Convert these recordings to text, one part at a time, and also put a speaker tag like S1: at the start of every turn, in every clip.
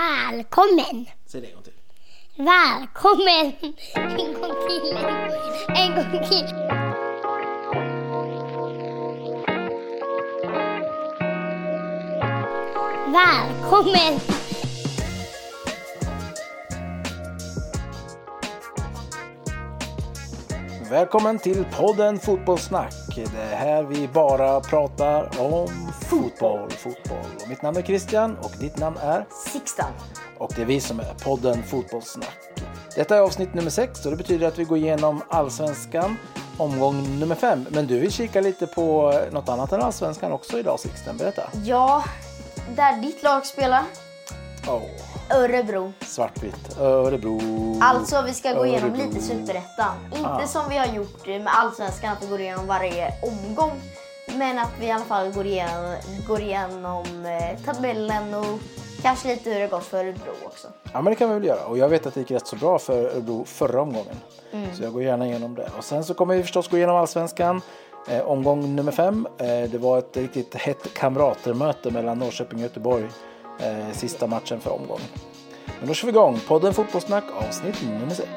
S1: Välkommen!
S2: Säg det en gång till.
S1: Välkommen! En gång till. En gång till. Välkommen!
S2: Välkommen till podden Fotbollssnack. Det är här vi bara pratar om fotboll, fotboll. Och mitt namn är Christian och ditt namn är?
S3: Sixten.
S2: Och det är vi som är podden Fotbollssnack. Detta är avsnitt nummer 6 och det betyder att vi går igenom Allsvenskan omgång nummer 5. Men du vill kika lite på något annat än Allsvenskan också idag Sixten, berätta.
S3: Ja, där ditt lag spelar.
S2: Åh,
S3: Örebro.
S2: svartvitt, Örebro.
S3: Alltså vi ska gå igenom
S2: Örebro.
S3: lite Superettan. Inte
S2: Ah.
S3: som vi har gjort med Allsvenskan att vi går igenom varje omgång. Men att vi i alla fall går igenom, går igenom eh, tabellen och kanske lite hur det gått för Örebro också.
S2: Ja, men det kan vi väl göra. Och jag vet att det gick rätt så bra för Örebro förra omgången. Så jag går gärna igenom det. Och sen så kommer vi förstås gå igenom allsvenskan. Eh, omgång nummer fem. Eh, det var ett riktigt hett kamratermöte mellan Norrköping och Göteborg. Eh, sista matchen för omgången. Men då kör vi igång. Podden Fotbollssnack avsnitt nummer sex.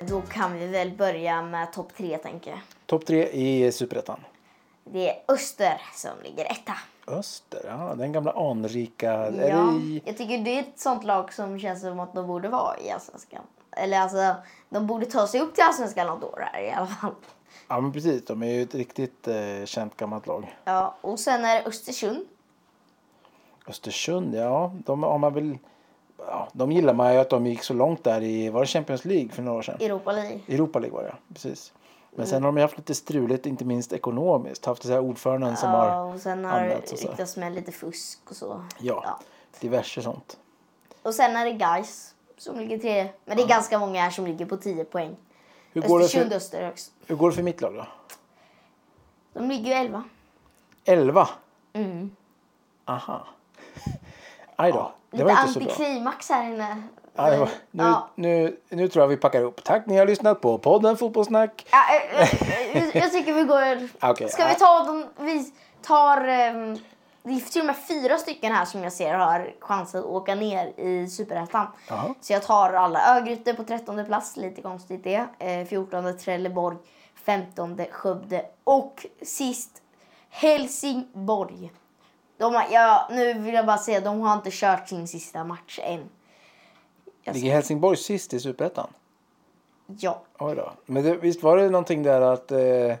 S3: Då kan vi väl börja med topp tre tänker jag.
S2: Topp tre i Superettan.
S3: Det är Öster som ligger etta.
S2: Öster, ja, den gamla anrika... Är
S3: Ja,
S2: det i-
S3: jag tycker det är ett sånt lag som känns som att de borde vara i Allsvenskan. Eller alltså, de borde ta sig upp till Allsvenskan något år här i alla fall.
S2: ja, men precis. De är ju ett riktigt eh, känt gammalt lag.
S3: Ja, och sen är det Östersund.
S2: Östersund, ja. De har man väl... Ja, de gillar man ju att de gick så långt där i... Var det Champions League för några år sedan?
S3: Europa League.
S2: Europa League var det, ja. precis. Men
S3: Mm.
S2: sen har de ju haft lite struligt, inte minst ekonomiskt. Haft så här ordföranden som
S3: Ja,
S2: har
S3: och sen har det
S2: anmält och så.
S3: ryktats med lite fusk och så.
S2: Ja, diverse sånt.
S3: Och sen är det Gais som ligger tre. Men det är ganska många här som ligger på 10 poäng.
S2: Hur går, det
S3: Östersund
S2: för,
S3: Öster också.
S2: hur går det för mitt lag då?
S3: De ligger ju 11.
S2: 11?
S3: Mm.
S2: Aha. Aj då, det var
S3: lite
S2: inte så bra.
S3: antiklimax här inne.
S2: Aj, det var- nu,
S3: Ja.
S2: nu, nu tror jag vi packar upp. Tack ni har lyssnat på podden Fotbollssnack.
S3: Ja, eh, eh, jag, jag tycker vi går...
S2: Okej,
S3: Ska vi
S2: ja.
S3: ta de... Vi tar... ehm, det är till och med fyra stycken här som jag ser har chans att åka ner i Superettan.
S2: Jaha.
S3: Så jag tar alla. Örgryte på trettonde plats, lite konstigt det. Eh, fjortonde Trelleborg, femtonde Skövde och sist Helsingborg. De har, ja, nu vill jag bara säga, de har inte kört sin sista match än. Jag ska-
S2: Ligger Helsingborg sist i Superettan?
S3: Ja.
S2: Oj då. Men det, visst var det någonting där att, eh, vi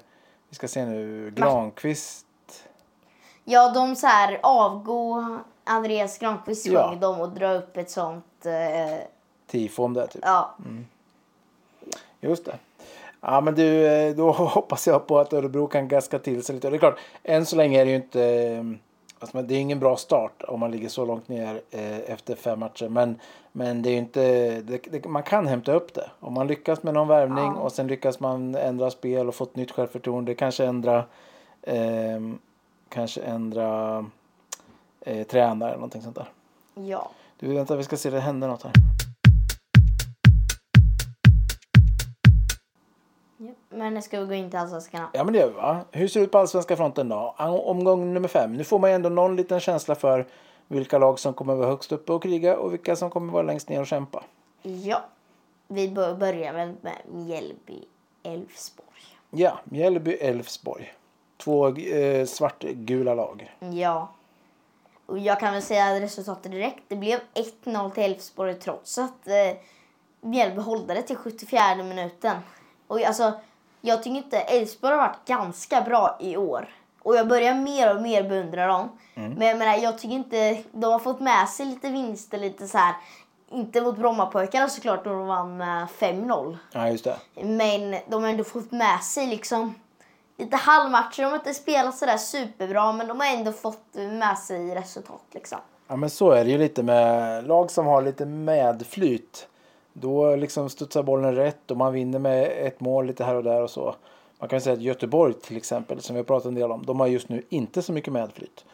S2: ska se nu, Granqvist.
S3: Ja, de så här avgå Andreas Granqvist sjöng
S2: Ja.
S3: de och dra upp ett sånt... Eh,
S2: tifo om det typ.
S3: ja.
S2: Just det. Ja men du, eh, då hoppas jag på att Örebro kan gaska till sig lite. Och Det är klart, än så länge är det ju inte, eh, alltså, men det är ingen bra start om man ligger så långt ner eh, efter fem matcher. Men, men det är ju inte, det, det, man kan hämta upp det. Om man lyckas med någon värvning
S3: Ja.
S2: och sen lyckas man ändra spel och få ett nytt självförtroende. Kanske ändra, eh, kanske ändra eh, tränare eller någonting sånt där.
S3: ja.
S2: Du, vänta vi ska se, det händer något här.
S3: Men ska vi gå in till Allsvenskan?
S2: Ja men det gör vi va? Hur ser det ut på allsvenska fronten då? Omgång nummer fem. Nu får man ju ändå någon liten känsla för vilka lag som kommer vara högst uppe och kriga och vilka som kommer vara längst ner och kämpa.
S3: Ja. Vi bör- börjar väl med Mjällby, Elfsborg.
S2: Ja, Mjällby, Elfsborg. Två eh, svartgula lag.
S3: Ja. Och jag kan väl säga resultatet direkt. Det blev 1-0 till Elfsborg trots att eh, Mjällby hållde det till 74 minuten. Och jag- alltså, jag tycker inte Elfsborg har varit ganska bra i år. Och jag börjar mer och mer beundra dem. Men jag menar, jag tycker inte de har fått med sig lite vinster lite så här. Inte mot Brommapojkarna såklart då de vann med 5-0.
S2: Ja, just det.
S3: Men de har ändå fått med sig liksom lite halvmatcher. De har inte spelat sådär superbra men de har ändå fått med sig resultat liksom.
S2: Ja men så är det ju lite med lag som har lite medflyt. Då liksom studsar bollen rätt och man vinner med ett mål lite här och där och så. Man kan ju säga att Göteborg till exempel, som vi har pratat en del om, de har just nu inte så mycket medflyt.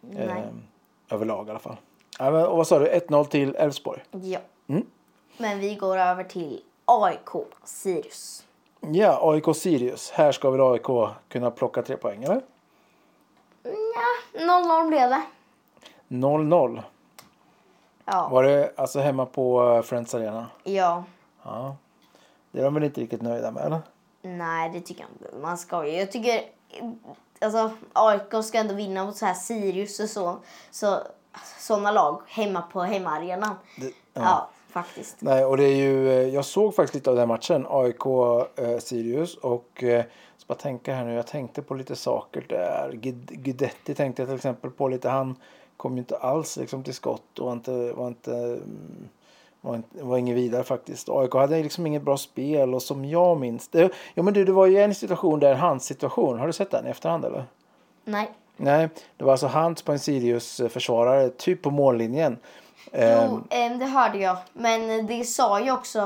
S3: Nej.
S2: Ehm, överlag i alla fall. Ja, men, och vad sa du? 1-0 till Elfsborg.
S3: Ja. Men vi går över till AIK Sirius.
S2: Ja, AIK Sirius. Här ska väl AIK kunna plocka tre poäng, eller?
S3: Ja, 0-0 blev det.
S2: 0-0.
S3: Ja.
S2: Var det alltså hemma på eh, Friends Arena?
S3: ja.
S2: Ja. Det är de väl inte riktigt nöjda med, eller?
S3: Nej, det tycker jag inte. Man ska ju. Jag tycker... Alltså, AIK ska ändå vinna mot så här Sirius och så. så såna lag hemma på hemmaarenan.
S2: Det-
S3: ja. faktiskt.
S2: Nej, och det är ju, eh, jag såg faktiskt lite av den matchen, AIK-Sirius. eh, och eh, ska bara tänka här nu, jag tänkte på lite saker där. Gud- Guidetti tänkte jag till exempel på lite. Han kom ju inte alls liksom, till skott och var inte, var inte, mm, var inte var ingen vidare faktiskt. AIK hade liksom inget bra spel och som jag minns det. Ja men du, det var ju en situation där, hans situation. Har du sett den i efterhand eller?
S3: Nej.
S2: Nej, det var alltså Hans på en Sirius-försvarare, typ på mållinjen. Ehm,
S3: Jo, ehm, det hörde jag. Men det sa ju också,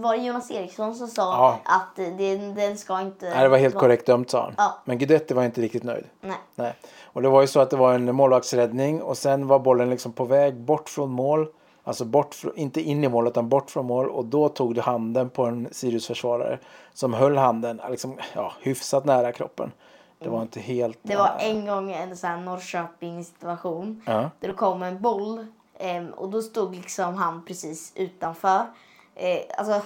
S3: var det Jonas Eriksson som sa
S2: Ja.
S3: att den, den ska inte...
S2: Nej, det var helt
S3: vara-
S2: korrekt dömt sa han.
S3: Ja.
S2: Men Guidetti var inte riktigt nöjd.
S3: Nej.
S2: Nej. Och det var ju så att det var en målvaktsräddning och sen var bollen liksom på väg bort från mål. Alltså bort, fr- inte in i mål utan bort från mål och då tog det handen på en Sirius-försvarare som höll handen liksom, ja, hyfsat nära kroppen. Det var inte helt...
S3: Mm. Det var en gång en sån här Norrköping-situation.
S2: Ja.
S3: Där det kom en boll ehm, och då stod liksom han precis utanför. Eh, alltså,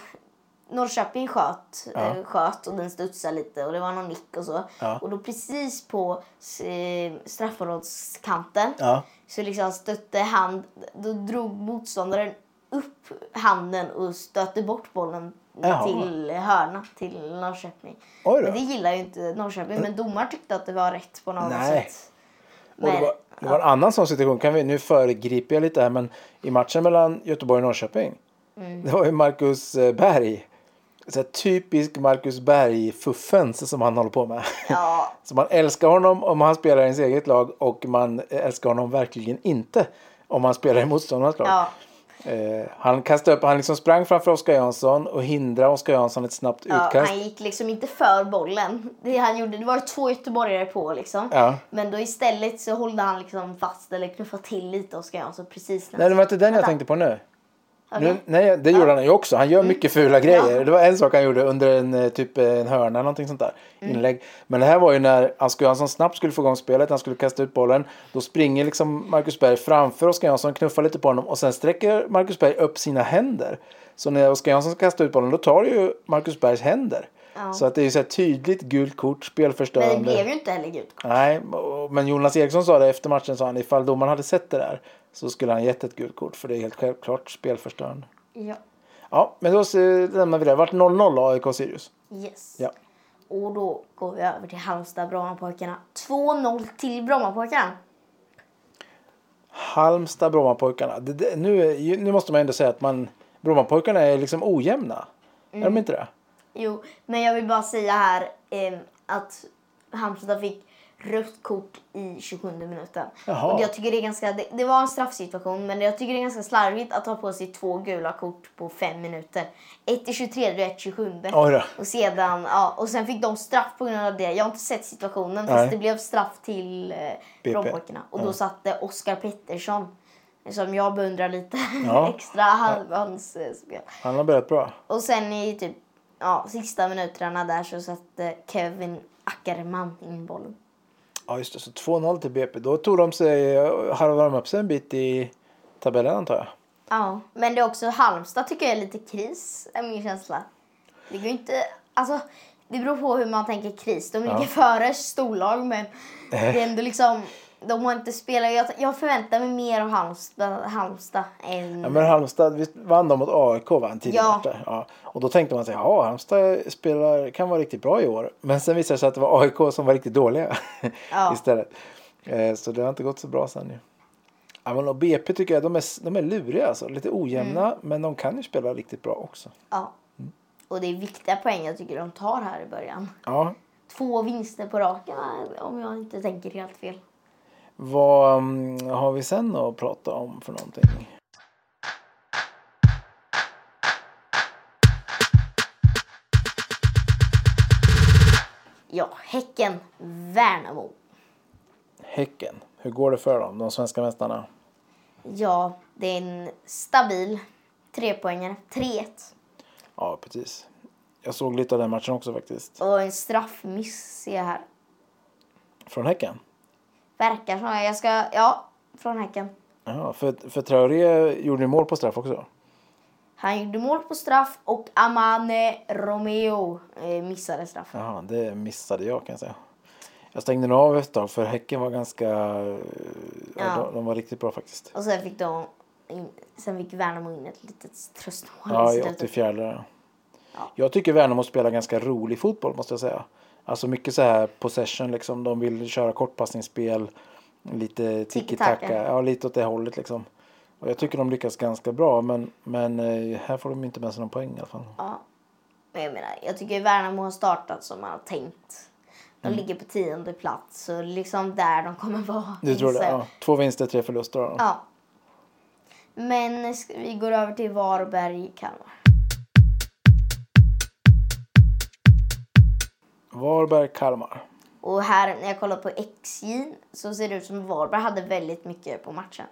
S3: Norrköping sköt, eh, sköt och den studsade lite och det var någon nick och så.
S2: Ja.
S3: Och då precis på eh, straffområdeskanten
S2: Ja.
S3: så liksom stötte han, då drog motståndaren upp handen och stötte bort bollen
S2: Jaha.
S3: till hörna till Norrköping.
S2: Oj då.
S3: Men det gillar ju inte Norrköping, men domaren tyckte att det var rätt på något
S2: Nej.
S3: sätt.
S2: Och det, var, det var en annan sån situation, kan vi, nu föregriper jag lite här, men i matchen mellan Göteborg och Norrköping.
S3: Mm.
S2: Det var ju Marcus eh, Berg. Så här typisk Marcus Berg-fuffens som han håller på med.
S3: Ja.
S2: Så man älskar honom om han spelar i ens eget lag och man älskar honom verkligen inte om han spelar i motståndarnas lag.
S3: Ja.
S2: Eh, han kastade upp, han liksom sprang framför Oskar Jansson och hindrade Oskar Jansson ett snabbt
S3: Ja,
S2: utkast.
S3: han gick liksom inte för bollen. Det, han gjorde, det var ju två göteborgare på liksom.
S2: Ja.
S3: Men då istället så höll han liksom fast eller knuffade till lite Oskar Jansson precis när
S2: Nej, det var inte den jag tänkte på nu. nu nej, det gjorde han ju också. Han
S3: Mm.
S2: gör mycket fula grejer. Det var en sak han gjorde under en eh, typ eh, en hörna eller någonting sånt där.
S3: Mm.
S2: Inlägg. Men det här var ju när Oskar Jansson snabbt skulle få igång spelet. Han skulle kasta ut bollen. Då springer liksom Marcus Berg framför Oskar Jansson, knuffar lite på honom och sen sträcker Marcus Berg upp sina händer. Så när Oskar Jansson ska kasta ut bollen då tar det ju Marcus Bergs händer.
S3: Ja.
S2: Så att det är ju så här tydligt gult kort, spelförstörande.
S3: Men det blev ju inte heller gult kort.
S2: Nej, och- men Jonas Eriksson sa det efter matchen, sa han, ifall domaren hade sett det där så skulle han gett ett gult kort för det är helt självklart spelförstörande.
S3: Ja.
S2: Ja, men då eh, lämnar vi det. Vart 0-0 AIK Sirius?
S3: Yes.
S2: Ja.
S3: Och då går vi över till Halmstad Brommapojkarna. 2-0 till Brommapojkarna.
S2: Halmstad, Brommapojkarna. Det, det, nu, är ju- nu måste man ändå säga att man, Brommapojkarna är liksom ojämna. Är de inte det?
S3: Jo, men jag vill bara säga här eh, att Halmstad fick rött kort i 27 minuten.
S2: Jaha.
S3: Och jag tycker det, är ganska, det, det var en straffsituation, men jag tycker det är ganska slarvigt att ta på sig två gula kort på fem minuter. Ett i 23 och ett i 27.
S2: Oj då.
S3: Och sedan, ja, och sen fick de straff på grund av det. Jag har inte sett situationen,
S2: Nej.
S3: fast det blev straff till eh,
S2: BP.
S3: Brommapojkarna. Och då satte Oskar Pettersson, som jag beundrar lite
S2: Ja.
S3: extra, han, hans eh, spel.
S2: Han har börjat bra.
S3: Och sen i typ ja, sista minuterna där så satte Kevin Ackerman in bollen.
S2: Ja, just det. Så 2-0 till BP. Då tog de sig, harvade de upp sig en bit i tabellen antar jag.
S3: Ja, men det är också Halmstad tycker jag är lite kris, är min känsla. Det går ju inte, alltså det beror på hur man tänker kris. De ligger före storlag men det är ändå liksom, de har inte spelat. Jag, jag förväntar mig mer av Halmstad, Halmstad än...
S2: Ja, men Halmstad, visst vann de mot AIK va, en tidig
S3: Ja.
S2: match där? ja. Och då tänkte man sig, ja Halmstad spelar, kan vara riktigt bra i år. Men sen visade det sig att det var AIK som var riktigt dåliga
S3: Ja.
S2: istället. Eh, så det har inte gått så bra sen ju. Ja, men och BP tycker jag, de är, de är luriga alltså. Lite ojämna,
S3: Mm.
S2: men de kan ju spela riktigt bra också.
S3: ja. Och det är viktiga poäng jag tycker de tar här i början.
S2: Ja,
S3: Två vinster på raken va, om jag inte tänker helt fel.
S2: vad mm, har vi sen att prata om för någonting?
S3: Ja, Häcken, Värnamo.
S2: Häcken, hur går det för dem, de svenska mästarna?
S3: Ja, det är en stabil trepoängare. 3-1.
S2: Ja, precis. Jag såg lite av den matchen också faktiskt.
S3: Och en straffmiss ser jag här.
S2: Från Häcken.
S3: Verkar som. Jag ska... Ja, från Häcken.
S2: Ja, för, för Traoré gjorde ju mål på straff också.
S3: Han gjorde mål på straff och Amane Romeo eh, missade straff.
S2: Jaha, det missade jag kan jag säga. Jag stängde nog av ett tag för Häcken var ganska... eh, Ja.
S3: Ja.
S2: De, de var riktigt bra faktiskt.
S3: Och sen fick de... In, sen fick Värnamo in ett litet tröstmål
S2: Ja,
S3: i
S2: i
S3: slutet.
S2: 84.
S3: Ja.
S2: Jag tycker Värnamo spelar ganska rolig fotboll måste jag säga. Alltså mycket så här possession liksom. De vill köra kortpassningsspel. Lite tiki-taka.
S3: Tiki-taka.
S2: Ja, lite åt det hållet liksom. Och jag tycker de lyckas ganska bra men, men eh, här får de inte med sig någon poäng i alla fall.
S3: Ja. Men jag menar, jag tycker Värnamo har startat som man har tänkt. De
S2: Mm.
S3: ligger på tionde plats, så liksom där de kommer vara.
S2: Du tror det?
S3: gissar jag.
S2: Ja. Två vinster, tre förluster har de.
S3: Ja. Men ska- vi går över till Varberg, Kalmar.
S2: Varberg, Kalmar.
S3: Och här, när jag kollar på XG, så ser det ut som Varberg hade väldigt mycket på matchen.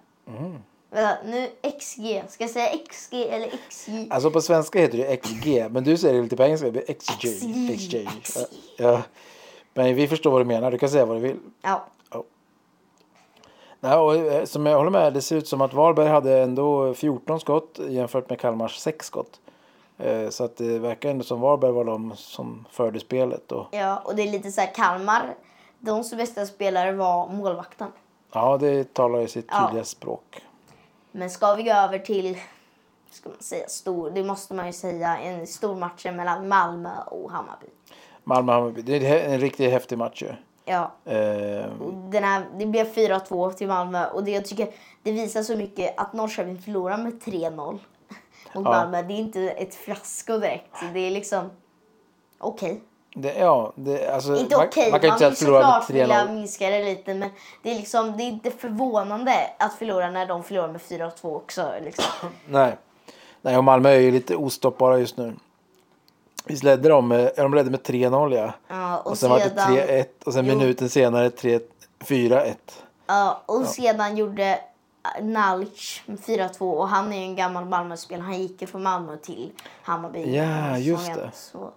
S3: Vänta, nu XG. Ska jag säga XG eller XG?
S2: Alltså på svenska heter det XG, men du säger det lite på engelska. Det blir XG.
S3: XG.
S2: XG. Ja. Men vi förstår vad du menar. Du kan säga vad du vill.
S3: Ja.
S2: Nej, och, eh, som jag håller med, det ser ut som att Varberg hade ändå 14 skott jämfört med Kalmars 6 skott. Eh, Så att det verkar ändå som Varberg var de som förde spelet. Och,
S3: ja. Och det är lite så här Kalmar, deras bästa spelare var målvakten.
S2: ja, det talar ju sitt
S3: Ja.
S2: tydliga språk.
S3: Men ska vi gå över till, ska man säga stor, det måste man ju säga, en stor match mellan Malmö och Hammarby.
S2: Malmö-Hammarby, det är en riktigt häftig match ju.
S3: Ja,
S2: Eh,
S3: och den här, det blev 4-2 till Malmö och det jag tycker det visar så mycket att Norrköping förlorar med 3-0 mot Malmö. Det är inte ett fiasko direkt. Det är liksom okej.
S2: Det, ja, det, alltså,
S3: Inte
S2: man,
S3: okej,
S2: man kan ju inte säga att
S3: vill
S2: förlora
S3: såklart
S2: med 3-0.
S3: vilja minska det lite men det är, liksom, det är inte förvånande att förlora när de förlorar med 4-2 också. Liksom.
S2: Nej. Nej, och Malmö är ju lite ostoppbara just nu. Visst ledde de, med- ja, de ledde med 3-0 ja.
S3: Ja,
S2: Och,
S3: och
S2: sen var det
S3: sedan-
S2: 3-1 och sen
S3: Jo.
S2: minuten senare 3 4-1.
S3: Ja, och sedan gjorde Nalic 4-2 och han är ju en gammal Malmöspelare. Han gick ju från Malmö till Hammarby.
S2: Ja,
S3: Så
S2: just
S3: jag-
S2: det.
S3: Så,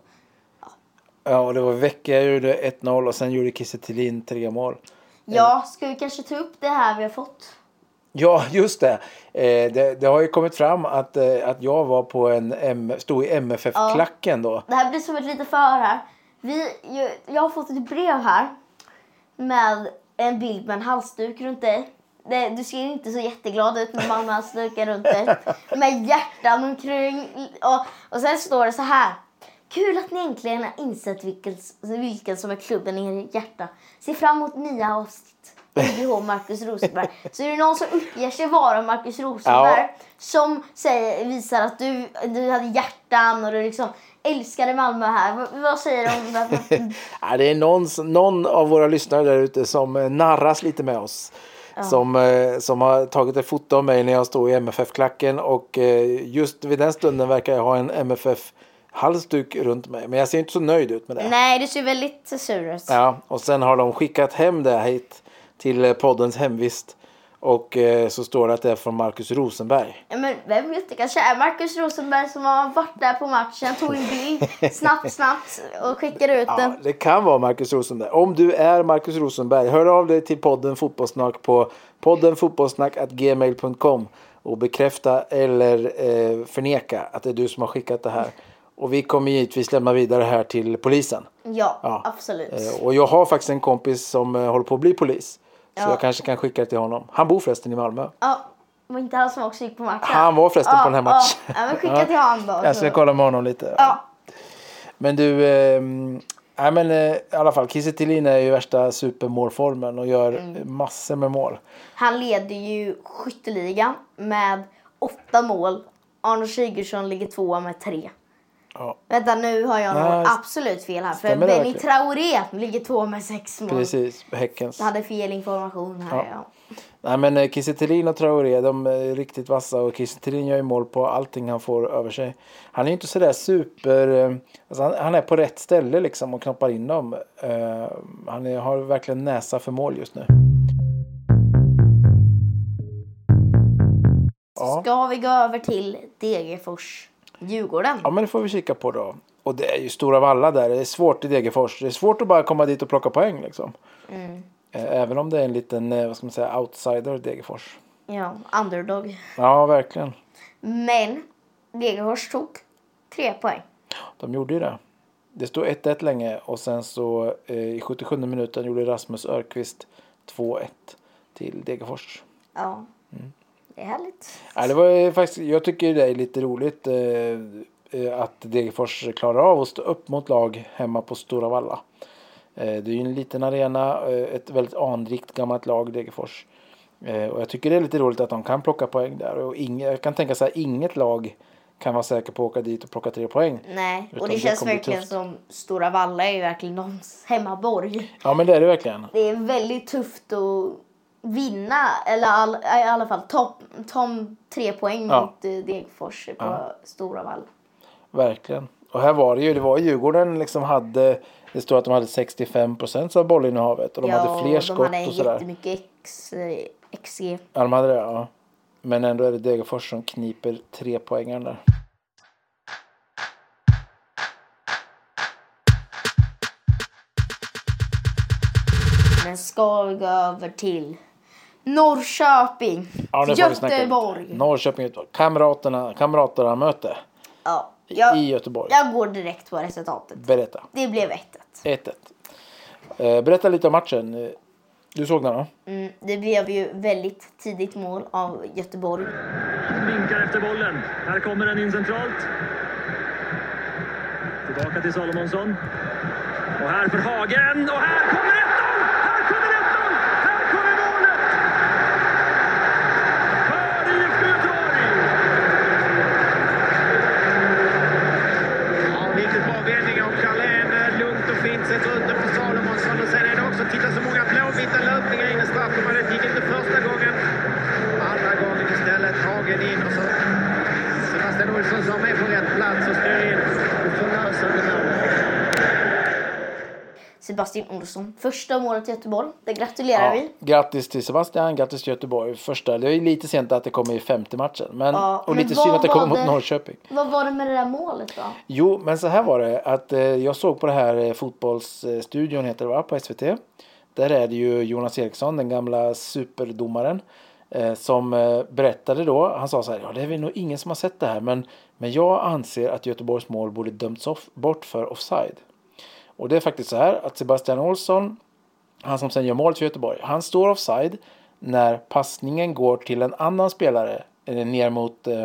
S2: Ja, och det var Vecchia gjorde 1-0 och sen gjorde Kiese Thelin tre mål.
S3: ja, ska vi kanske ta upp det här vi har fått?
S2: Ja, just det. Eh, det, det har ju kommit fram att, eh, att jag var på en M, stod i MFF-klacken då.
S3: Det här blir som ett litet förhör här. Vi, ju- jag har fått ett brev här med en bild med en halsduk runt dig. Det, du ser inte så jätteglad ut med halsdukar runt dig. Med hjärtan omkring. Och, och sen står det så här. Kul att ni äntligen har insett vilken, vilken som är klubben i ert hjärta. Se fram emot nya avsnitt. IBH Marcus Rosenberg. Så är det någon som uppger sig vara Marcus Rosenberg
S2: Ja.
S3: som säger, visar att du, du hade hjärtan och du liksom älskade Malmö här. Vad, vad säger de om det? här?
S2: ja, det Mm. är någon, någon av våra lyssnare där ute som eh, narras lite med oss. Som, eh, som har tagit ett foto av mig när jag står i MFF-klacken och eh, just vid den stunden verkar jag ha en MFF-halsduk runt mig. Men jag ser inte så nöjd ut med det.
S3: Nej, du ser väldigt sur ut.
S2: Ja, och sen har de skickat hem det här hit till eh, poddens hemvist. Och eh, så står det att det är från Markus Rosenberg.
S3: Ja, men vem vet, det kanske är Marcus Rosenberg som har varit där på matchen, tog en bild snabbt, snabbt och skickade ut
S2: Ja,
S3: den.
S2: det kan vara Markus Rosenberg. Om du är Markus Rosenberg, hör av dig till podden Fotbollssnack på podden fotbollssnack@gmail.com och bekräfta eller eh, förneka att det är du som har skickat det här. Och vi kommer givetvis lämna vidare här till polisen.
S3: Ja,
S2: Ja.
S3: absolut.
S2: Eh, och jag har faktiskt en kompis som eh, håller på att bli polis. Så
S3: Ja.
S2: jag kanske kan skicka det till honom. Han bor förresten i Malmö.
S3: Ja, var inte han som också gick på matchen?
S2: Han var förresten på den här matchen.
S3: Ja, ja men skicka till honom då.
S2: Jag ska kolla med honom lite.
S3: Ja,
S2: Men du, eh, nej men eh, i alla fall Kiese Thelin är ju värsta supermålformen och gör massor med mål.
S3: han leder ju skytteligan med åtta mål. Arne Sigurdsson ligger tvåa med tre.
S2: Ja,
S3: Vänta, nu har jag
S2: Nej,
S3: nog
S2: st-
S3: absolut fel här. För
S2: stämmer det
S3: Benny
S2: verkligen?
S3: Traoré ligger tvåa med sex mål.
S2: precis. Häckens.
S3: Jag hade fel information här.
S2: Ja.
S3: Ja.
S2: Nej men eh, Kiese Thelin och Traoré, de är riktigt vassa och Kiese Thelin gör ju mål på allting han får över sig. Han är ju inte sådär super... eh, Alltså han, han är på rätt ställe liksom och knoppar in dem. Eh, han är, har verkligen näsa för mål just nu. Ja.
S3: Ska vi gå över till Degerfors, Djurgården?
S2: Ja, men det får vi kika på då. Och det är ju Stora Valla där. Det är svårt i Degerfors. Det är svårt att bara komma dit och plocka poäng liksom. Eh, Även om det är en liten, eh, vad ska man säga, outsider i Degerfors.
S3: Ja, underdog.
S2: Ja, verkligen.
S3: Men Degerfors tog tre poäng.
S2: De gjorde ju det. Det stod 1-1 länge och sen så eh, i 77 minuten gjorde Rasmus Örqvist 2-1 till Degerfors.
S3: Ja.
S2: Mm.
S3: Det är härligt.
S2: Ja, det var ju faktiskt, jag tycker det är lite roligt eh, eh, att Degerfors klarar av att stå upp mot lag hemma på Stora Valla. Eh, det är ju en liten arena, eh, ett väldigt anrikt gammalt lag, Degerfors. Eh, och jag tycker det är lite roligt att de kan plocka poäng där. Och inge, jag kan tänka så här, inget lag kan vara säker på att åka dit och plocka tre poäng.
S3: Nej,
S2: Utan
S3: och det,
S2: det
S3: känns
S2: kommer bli
S3: verkligen
S2: tufft.
S3: som Stora Valla är ju verkligen någons hemmaborg.
S2: Ja men det är det verkligen.
S3: Det är väldigt tufft att vinna, eller all, i alla fall ta, ta tre poäng
S2: Ja.
S3: mot eh, Degerfors på Stora Valla.
S2: Verkligen. Och här var det ju, det var Djurgården liksom hade, det står att de hade 65 procent av bollinnehavet och de hade fler
S3: och
S2: skott
S3: de hade
S2: och sådär.
S3: jättemycket X, eh, XG.
S2: Ja, de hade det, ja. Men ändå är det Degerfors som kniper tre poängar där.
S3: Men ska vi gå över till Norrköping,
S2: Ja, nu får vi snacka lite.
S3: Göteborg.
S2: Norrköping, Göteborg. Kamraterna, kamraterna möte
S3: Ja,
S2: i
S3: jag,
S2: Göteborg.
S3: jag går direkt på resultatet.
S2: Berätta.
S3: Det blev 1
S2: 1-1. Eh, Berätta lite om matchen. Eh, Du såg den va?
S3: mm, Det blev ju väldigt tidigt mål av Göteborg.
S4: Vinkar efter bollen. Här kommer den in centralt. Tillbaka till Salomonsson. Och här för Hagen. Och här kommer 1-0! Här kommer 1-0! Här kommer målet! För IFK Göteborg!
S5: Ja, riktigt bra vändning av Carlén. Lugnt och fint sätter ut den på Salomonsson. Och sen är det också, titta så många blåvita löpningar in i straffområdet. Det gick inte första gången. Andra gången istället. Hagen in och så Sebastian Olsson som är på rätt plats och styr in. Och förlösande mål.
S3: Sebastian Olsson, första målet i Göteborg. Det gratulerar vi.
S2: Grattis till Sebastian, grattis till Göteborg. Första, det är ju lite sent att det kommer i femte matchen. Men,
S3: Ja,
S2: och
S3: men
S2: lite
S3: vad
S2: synd att det
S3: var
S2: kommer mot
S3: det-
S2: Norrköping.
S3: Vad var det med det där målet då?
S2: Jo, men så här var det att eh, jag såg på det här eh, fotbollsstudion heter det va, på SVT. Där är det ju Jonas Eriksson, den gamla superdomaren, eh, som eh, berättade då. Han sa så här, ja det är väl nog ingen som har sett det här, men, men jag anser att Göteborgs mål borde dömts off, bort för offside. Och det är faktiskt så här att Sebastian Olsson, han som sen gör mål för Göteborg, han står offside när passningen går till en annan spelare eh, ner mot eh,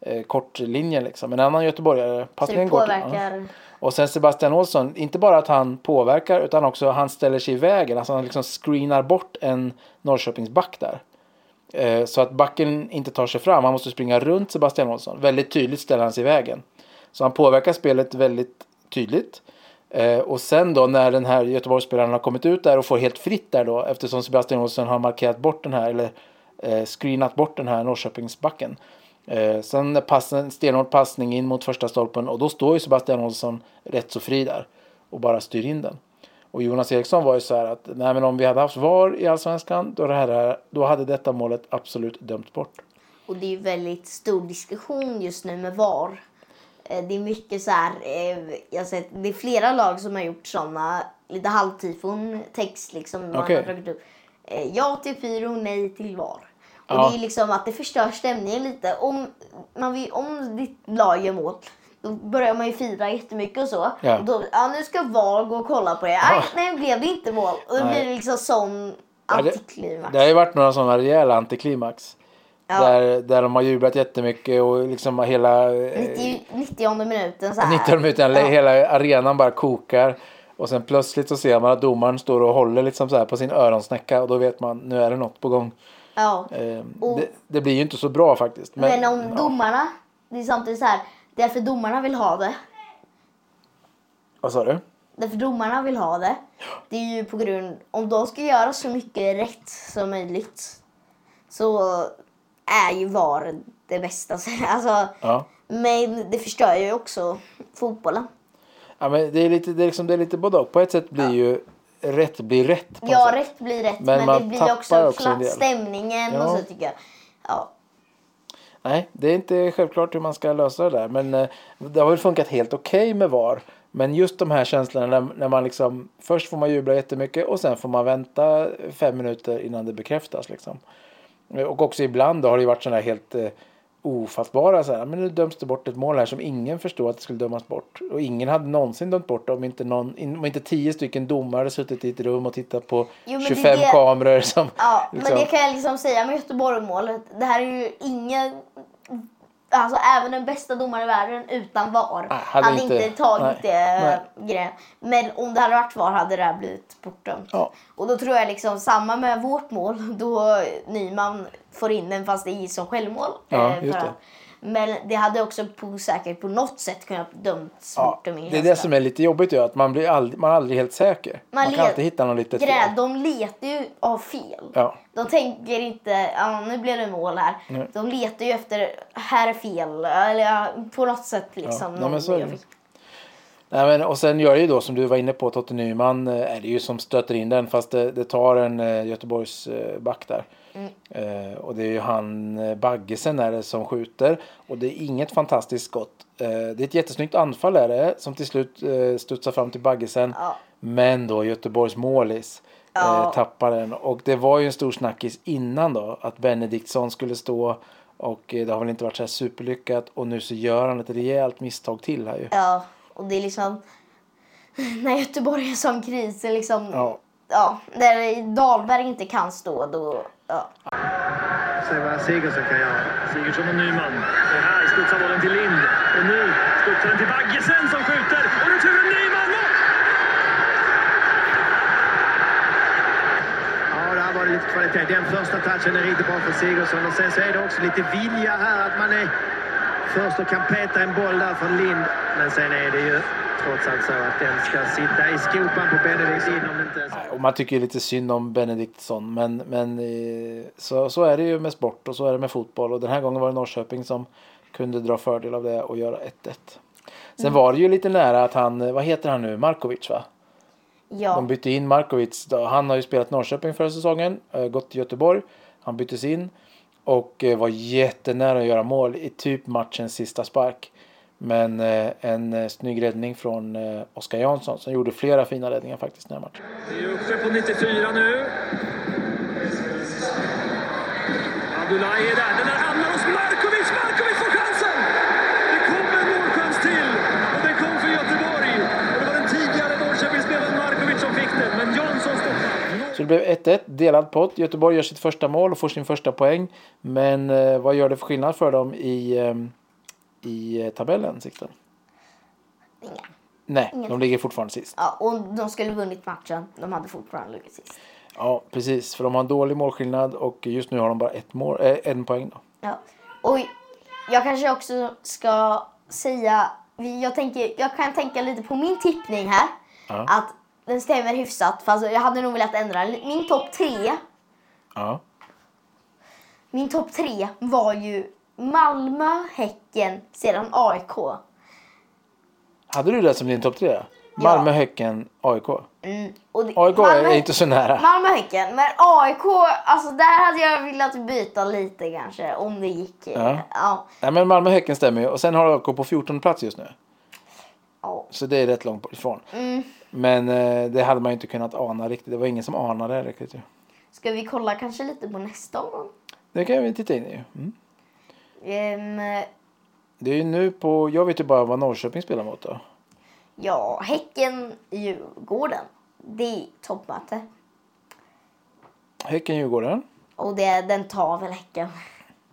S2: eh, kortlinjen liksom. En annan göteborgare.
S3: Så det
S2: Passningen går till- ja.
S3: påverkar.
S2: Och sen Sebastian Olsson, inte bara att han påverkar utan också han ställer sig i vägen. Alltså han liksom screenar bort en Norrköpingsback där. Eh, Så att backen inte tar sig fram. Han måste springa runt Sebastian Olsson. Väldigt tydligt ställer han sig i vägen. Så han påverkar spelet väldigt tydligt. Eh, Och sen då när den här Göteborgsspelaren har kommit ut där och får helt fritt där då eftersom Sebastian Olsson har markerat bort den här eller eh, screenat bort den här Norrköpingsbacken. Eh, sen är passen, stenhård passning in mot första stolpen och då står ju Sebastian Olsson rätt så fri där och bara styr in den. Och Jonas Eriksson var ju så här att nej men om vi hade haft VAR i Allsvenskan då, det här, då hade detta målet absolut dömt bort.
S3: Och det är ju väldigt stor diskussion just nu med VAR. Eh, Det är mycket så här, eh, jag har sett, det är flera lag som har gjort såna lite halvtifon text liksom. Man
S2: Okej.
S3: har dragit upp. eh, Ja till pyro, nej till VAR. Och
S2: Ja.
S3: det är liksom att det förstör stämningen lite. Om, man vill, om ditt lag gör mål då börjar man ju fira jättemycket och så.
S2: Ja.
S3: Och då, ja, nu ska VAR gå och kolla på det. Aj, nej, blev det inte mål. Och då
S2: Nej.
S3: blir det liksom sån
S2: Ja, det-
S3: antiklimax.
S2: Det har ju varit några sådana rejäla antiklimax.
S3: Ja.
S2: Där, där de har jublat jättemycket och liksom hela... eh,
S3: 90, 90 minuten så här.
S2: 19 minuter,
S3: Ja.
S2: hela arenan bara kokar. Och sen plötsligt så ser man att domaren står och håller liksom så här på sin öronsnäcka och då vet man nu är det något på gång.
S3: Ja.
S2: Eh,
S3: Och-
S2: det, det blir ju inte så bra faktiskt.
S3: Men, om
S2: ja.
S3: domarna, det är samtidigt så här, därför domarna vill ha det.
S2: Vad sa du?
S3: Därför domarna vill ha det. Det är ju på grund, om de ska göra så mycket rätt som möjligt så är ju VAR det bästa. Alltså,
S2: Ja.
S3: Men det förstör ju också fotbollen.
S2: ja men det är lite, det är liksom, det är lite både och. På ett sätt blir ju rätt blir rätt. På något
S3: Ja,
S2: sätt.
S3: rätt blir rätt
S2: Men
S3: men,
S2: man
S3: det blir
S2: tappar
S3: också,
S2: också en
S3: kla-
S2: del.
S3: stämningen
S2: Ja.
S3: och så tycker jag. Ja.
S2: Nej, det är inte självklart hur man ska lösa det där. Men eh, det har väl funkat helt okej med VAR. Men just de här känslorna när, när man liksom först får man jubla jättemycket och sen får man vänta fem minuter innan det bekräftas liksom. Eh, Och också ibland då har det ju varit sådana här helt eh, ofattbara så här, men nu döms det bort ett mål här som ingen förstod att det skulle dömas bort. Och ingen hade någonsin dömt bort det om inte, någon, om inte tio stycken domare suttit i ett rum och tittat på
S3: Jo, men det är
S2: 25
S3: det-
S2: kameror som
S3: Ja,
S2: liksom-
S3: men det kan jag liksom säga med Göteborgsmålet. Det här är ju ingen... Alltså även den bästa domaren i världen utan VAR
S2: Nej, hade inte- nej,
S3: tagit det grejen. Men om det hade varit VAR hade det här blivit bortdömt.
S2: Ja.
S3: Och då tror jag liksom samma med vårt mål då Nyman får in den fast det är som självmål. eh,
S2: Ja,
S3: för
S2: just det.
S3: han. Men det hade också på säkert på något sätt kunnat dömts
S2: Ja,
S3: bort.
S2: det
S3: om ingen
S2: är det
S3: känsla.
S2: som är lite jobbigt ju, att man blir aldrig, man är aldrig helt säker. Man, kan
S3: led-
S2: alltid hitta något litet
S3: Grejen är
S2: fel.
S3: att De letar ju av fel.
S2: Ja.
S3: De tänker inte, ja nu blev det mål här. De letar ju efter, här är fel. Eller ja, på något sätt liksom.
S2: ja,
S3: någon
S2: men så är det.
S3: jag fick-
S2: Nej, men, och sen gör det ju då som du var inne på, Totte Nyman eh, är det ju som stöter in den fast det, det tar en eh, Göteborgs eh, back där.
S3: Mm.
S2: Eh, och det är ju han eh, Baggesen är det som skjuter och det är inget fantastiskt skott. Eh, det är ett jättesnyggt anfall är det som till slut eh, studsar fram till Baggesen.
S3: Ja.
S2: Men då Göteborgs målis eh,
S3: Ja.
S2: tappar den och det var ju en stor snackis innan då att Benediktsson skulle stå och eh, det har väl inte varit så här superlyckat och nu så gör han ett rejält misstag till här ju.
S3: Ja, och det är liksom när Göteborg är en sån kris. det är Liksom,
S2: Ja.
S3: ja, när Dahlberg inte kan stå då. Ja.
S5: Se vad Sigurdsson kan göra.
S4: Sigurdsson och Nyman. Och här studsar bollen till Lind. Och nu studsar den till Baggesen som skjuter. Och returen Nyman! Mål!
S5: Ja, där var det lite kvalitet. Den första touchen är riktigt bra för Sigurdsson. Och sen så är det också lite vilja här att man är först och kan peta en boll där från Lind. Men sen är det ju trots allt så att den ska sitta i skopan på Benedikt in om det inte är så.
S2: Nej, Och man tycker ju lite synd om Benediktsson. Men, men eh, så, så är det ju med sport och så är det med fotboll. Och den här gången var det Norrköping som kunde dra fördel av det och göra 1-1. Sen var det ju lite nära att han, eh, vad heter han nu, Markovic va?
S3: Ja.
S2: De bytte in Markovic. då. Han har ju spelat Norrköping förra säsongen, eh, gått till Göteborg. Han byttes in och eh, var jättenära att göra mål i typ matchens sista spark. Men eh, en eh, snygg räddning från eh, Oskar Jansson som gjorde flera fina räddningar faktiskt i den här matchen.
S4: Vi är uppe på 94 nu. Abdullahi är där. Den där hamnar hos Markovic. Markovic får chansen! Det kom en målchans till och den kom för Göteborg. Och det var den tidigare Norrköpingsspelaren Markovic som fick den, men Jansson stoppade.
S2: Så det blev 1-1, delad pott. Göteborg gör sitt första mål och får sin första poäng. Men eh, vad gör det för skillnad för dem i, eh, i eh, tabellen, Sikten?
S3: Inga.
S2: Nej, de ligger fortfarande sist.
S3: Ja, och de skulle vunnit matchen. De hade fortfarande legat sist.
S2: Ja, precis. För de har en dålig målskillnad och just nu har de bara ett mål, eh, en poäng. Då.
S3: Ja. Och jag kanske också ska säga, jag, tänker, jag kan tänka lite på min tippning här.
S2: Ja.
S3: Att den stämmer hyfsat, fast jag hade nog velat ändra den. Min topp tre,
S2: Ja.
S3: min topp tre var ju Malmö, Häcken, sedan AIK.
S2: Hade du det som din topp tre? Malmö, Häcken, AIK.
S3: Mm. Och det-
S2: AIK
S3: Malmö-
S2: är inte så nära.
S3: Malmö, Häcken, men AIK, alltså där hade jag velat byta lite kanske om det gick.
S2: Ja.
S3: Ja.
S2: Nej, men Malmö, Häcken stämmer ju. Och sen har AIK på 14 plats just nu.
S3: ja.
S2: Så det är rätt långt ifrån.
S3: Mm.
S2: Men eh, det hade man ju inte kunnat ana riktigt. Det var ingen som anade det riktigt. ju.
S3: Ska vi kolla kanske lite på nästa omgång?
S2: Det kan vi titta in i. ju. Mm.
S3: Ehm,
S2: Det är ju nu på, jag vet ju bara vad Norrköping spelar mot då.
S3: Ja, Häcken, Djurgården. Det är toppmöte.
S2: Häcken-Djurgården.
S3: Och det, den tar väl Häcken.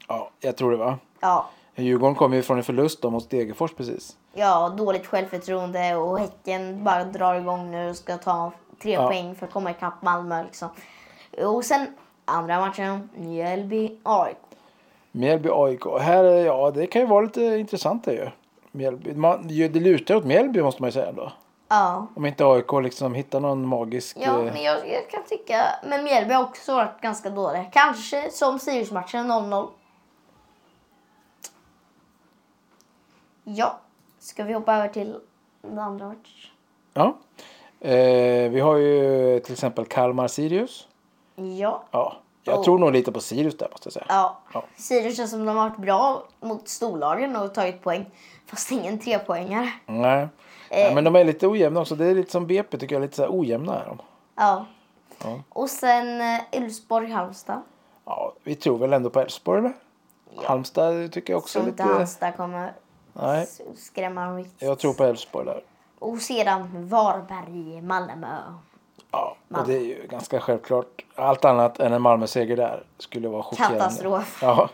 S2: Ja, jag tror det va.
S3: Ja,
S2: Djurgården kommer ju från en förlust då mot Degerfors precis.
S3: ja, dåligt självförtroende och Häcken bara drar igång nu och ska ta tre
S2: Ja.
S3: poäng för att komma ikapp Malmö. Liksom. Och sen andra matchen, Mjällby, AIK.
S2: Mjällby-AIK. Här, är- ja det kan ju vara lite intressant det ju. Mjällby. Man, ju- det lutar åt Mjällby måste man ju säga ändå.
S3: Ja.
S2: Om inte AIK liksom hittar någon magisk...
S3: Ja,
S2: eh,
S3: men jag, jag kan tycka... Men Mjällby har också varit ganska dåliga. Kanske som Siriusmatchen 0-0. Ja, ska vi hoppa över till den andra matchen?
S2: ja. Eh, vi har ju till exempel Kalmar-Sirius.
S3: Ja,
S2: Ja, Jag
S3: Och-
S2: tror nog lite på Sirius där måste jag säga.
S3: Oh. Ja.
S2: Ja.
S3: Sirius känns som de har varit bra mot storlagen och tagit poäng. Fast ingen trepoängare.
S2: Nej.
S3: Eh.
S2: Nej, men de är lite ojämna också. Det är lite som BP tycker jag, lite så här ojämna är de.
S3: Ja.
S2: Ja.
S3: Och sen eh, Elfsborg-Halmstad.
S2: Ja, vi tror väl ändå på Elfsborg eller? Halmstad tycker jag också
S3: Så
S2: är
S3: inte
S2: lite...
S3: Halmstad kommer
S2: Nej,
S3: s- skrämma dem riktigt.
S2: jag tror på Elfsborg där.
S3: Och sedan Varberg, Malmö.
S2: Ja, och
S3: Malmö.
S2: det är ju ganska självklart. Allt annat än en Malmö-seger där skulle vara chockerande.
S3: Katastrof.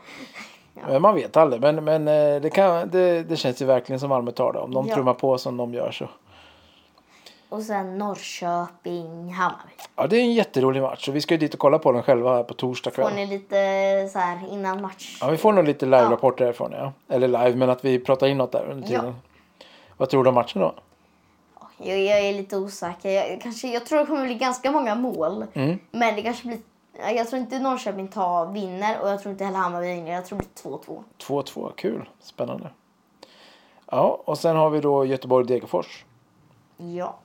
S2: Ja. Men man vet aldrig. Men, men eh, det, kan, det, det känns ju verkligen som Malmö tar det. Om de
S3: Ja.
S2: trummar på som de gör så.
S3: Och sen Norrköping, Hammarby.
S2: Ja, det är en jätterolig match. Och vi ska ju dit och kolla på den själva här på torsdag
S3: Får
S2: kväll.
S3: ni lite så här innan match?
S2: Ja, vi får nog lite live-rapporter därifrån. Ja. Eller live, men att vi pratar in något där under
S3: Ja.
S2: tiden. Vad tror du om matchen då?
S3: Jag, jag är lite osäker. Jag, kanske, jag tror det kommer bli ganska många mål.
S2: Mm.
S3: Men det kanske blir... Jag tror inte Norrköping tar, vinner och jag tror inte heller Hammarby vinner. Jag tror det blir 2-2.
S2: 2-2, kul. Spännande. Ja, och sen har vi då Göteborg-Degerfors.
S3: Ja.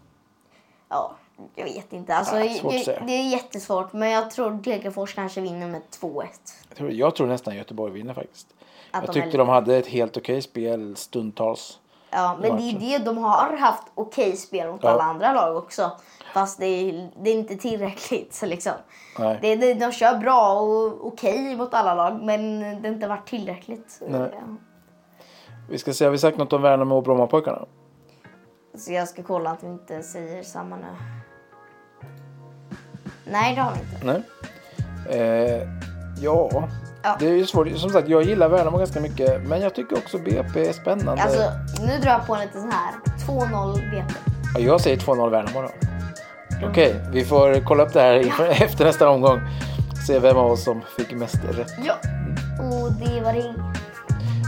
S3: Ja, jag vet inte. Alltså,
S2: Nej, svårt att
S3: det,
S2: säga.
S3: det är jättesvårt, men jag tror Degerfors kanske vinner med 2-1.
S2: Jag tror, jag tror nästan Göteborg vinner faktiskt.
S3: Att
S2: jag
S3: de
S2: tyckte
S3: är-
S2: de hade ett helt okej spel stundtals.
S3: Ja, men det är det de har haft okej spel mot
S2: Ja.
S3: alla andra lag också. Fast det är, det är inte tillräckligt. Så liksom.
S2: Nej.
S3: det, det, de kör bra och okej mot alla lag, men det har inte varit tillräckligt.
S2: Nej. Vi ska se, har vi sagt något om Värnamo och Brommapojkarna?
S3: Så jag ska kolla att vi inte säger samma nu. Nej, det har vi inte.
S2: Nej. Eh, ja.
S3: Ja.
S2: det är ju svårt. Som sagt, jag gillar Värnamo ganska mycket. Men jag tycker också BP är spännande.
S3: Alltså, nu drar jag på en liten sån här. 2-0 BP.
S2: Ja, Jag säger 2-0 Värnamo då. Okej, vi får kolla upp det här inför, efter nästa omgång. Se vem av oss som fick mest rätt.
S3: Ja. Och det var det.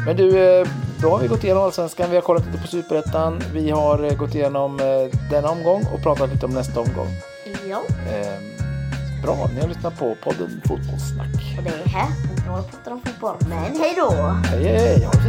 S2: Men du, eh, då har vi gått igenom Allsvenskan, vi har kollat lite på Superettan, vi har eh, gått igenom eh, denna omgång och pratat lite om nästa omgång.
S3: Ja.
S2: Eh, Bra, ni har lyssnat på podden Fotbollssnack.
S3: Och det är här. Vi håller på att prata om fotboll. Men hej då!
S2: Hej, hej, ha det fint!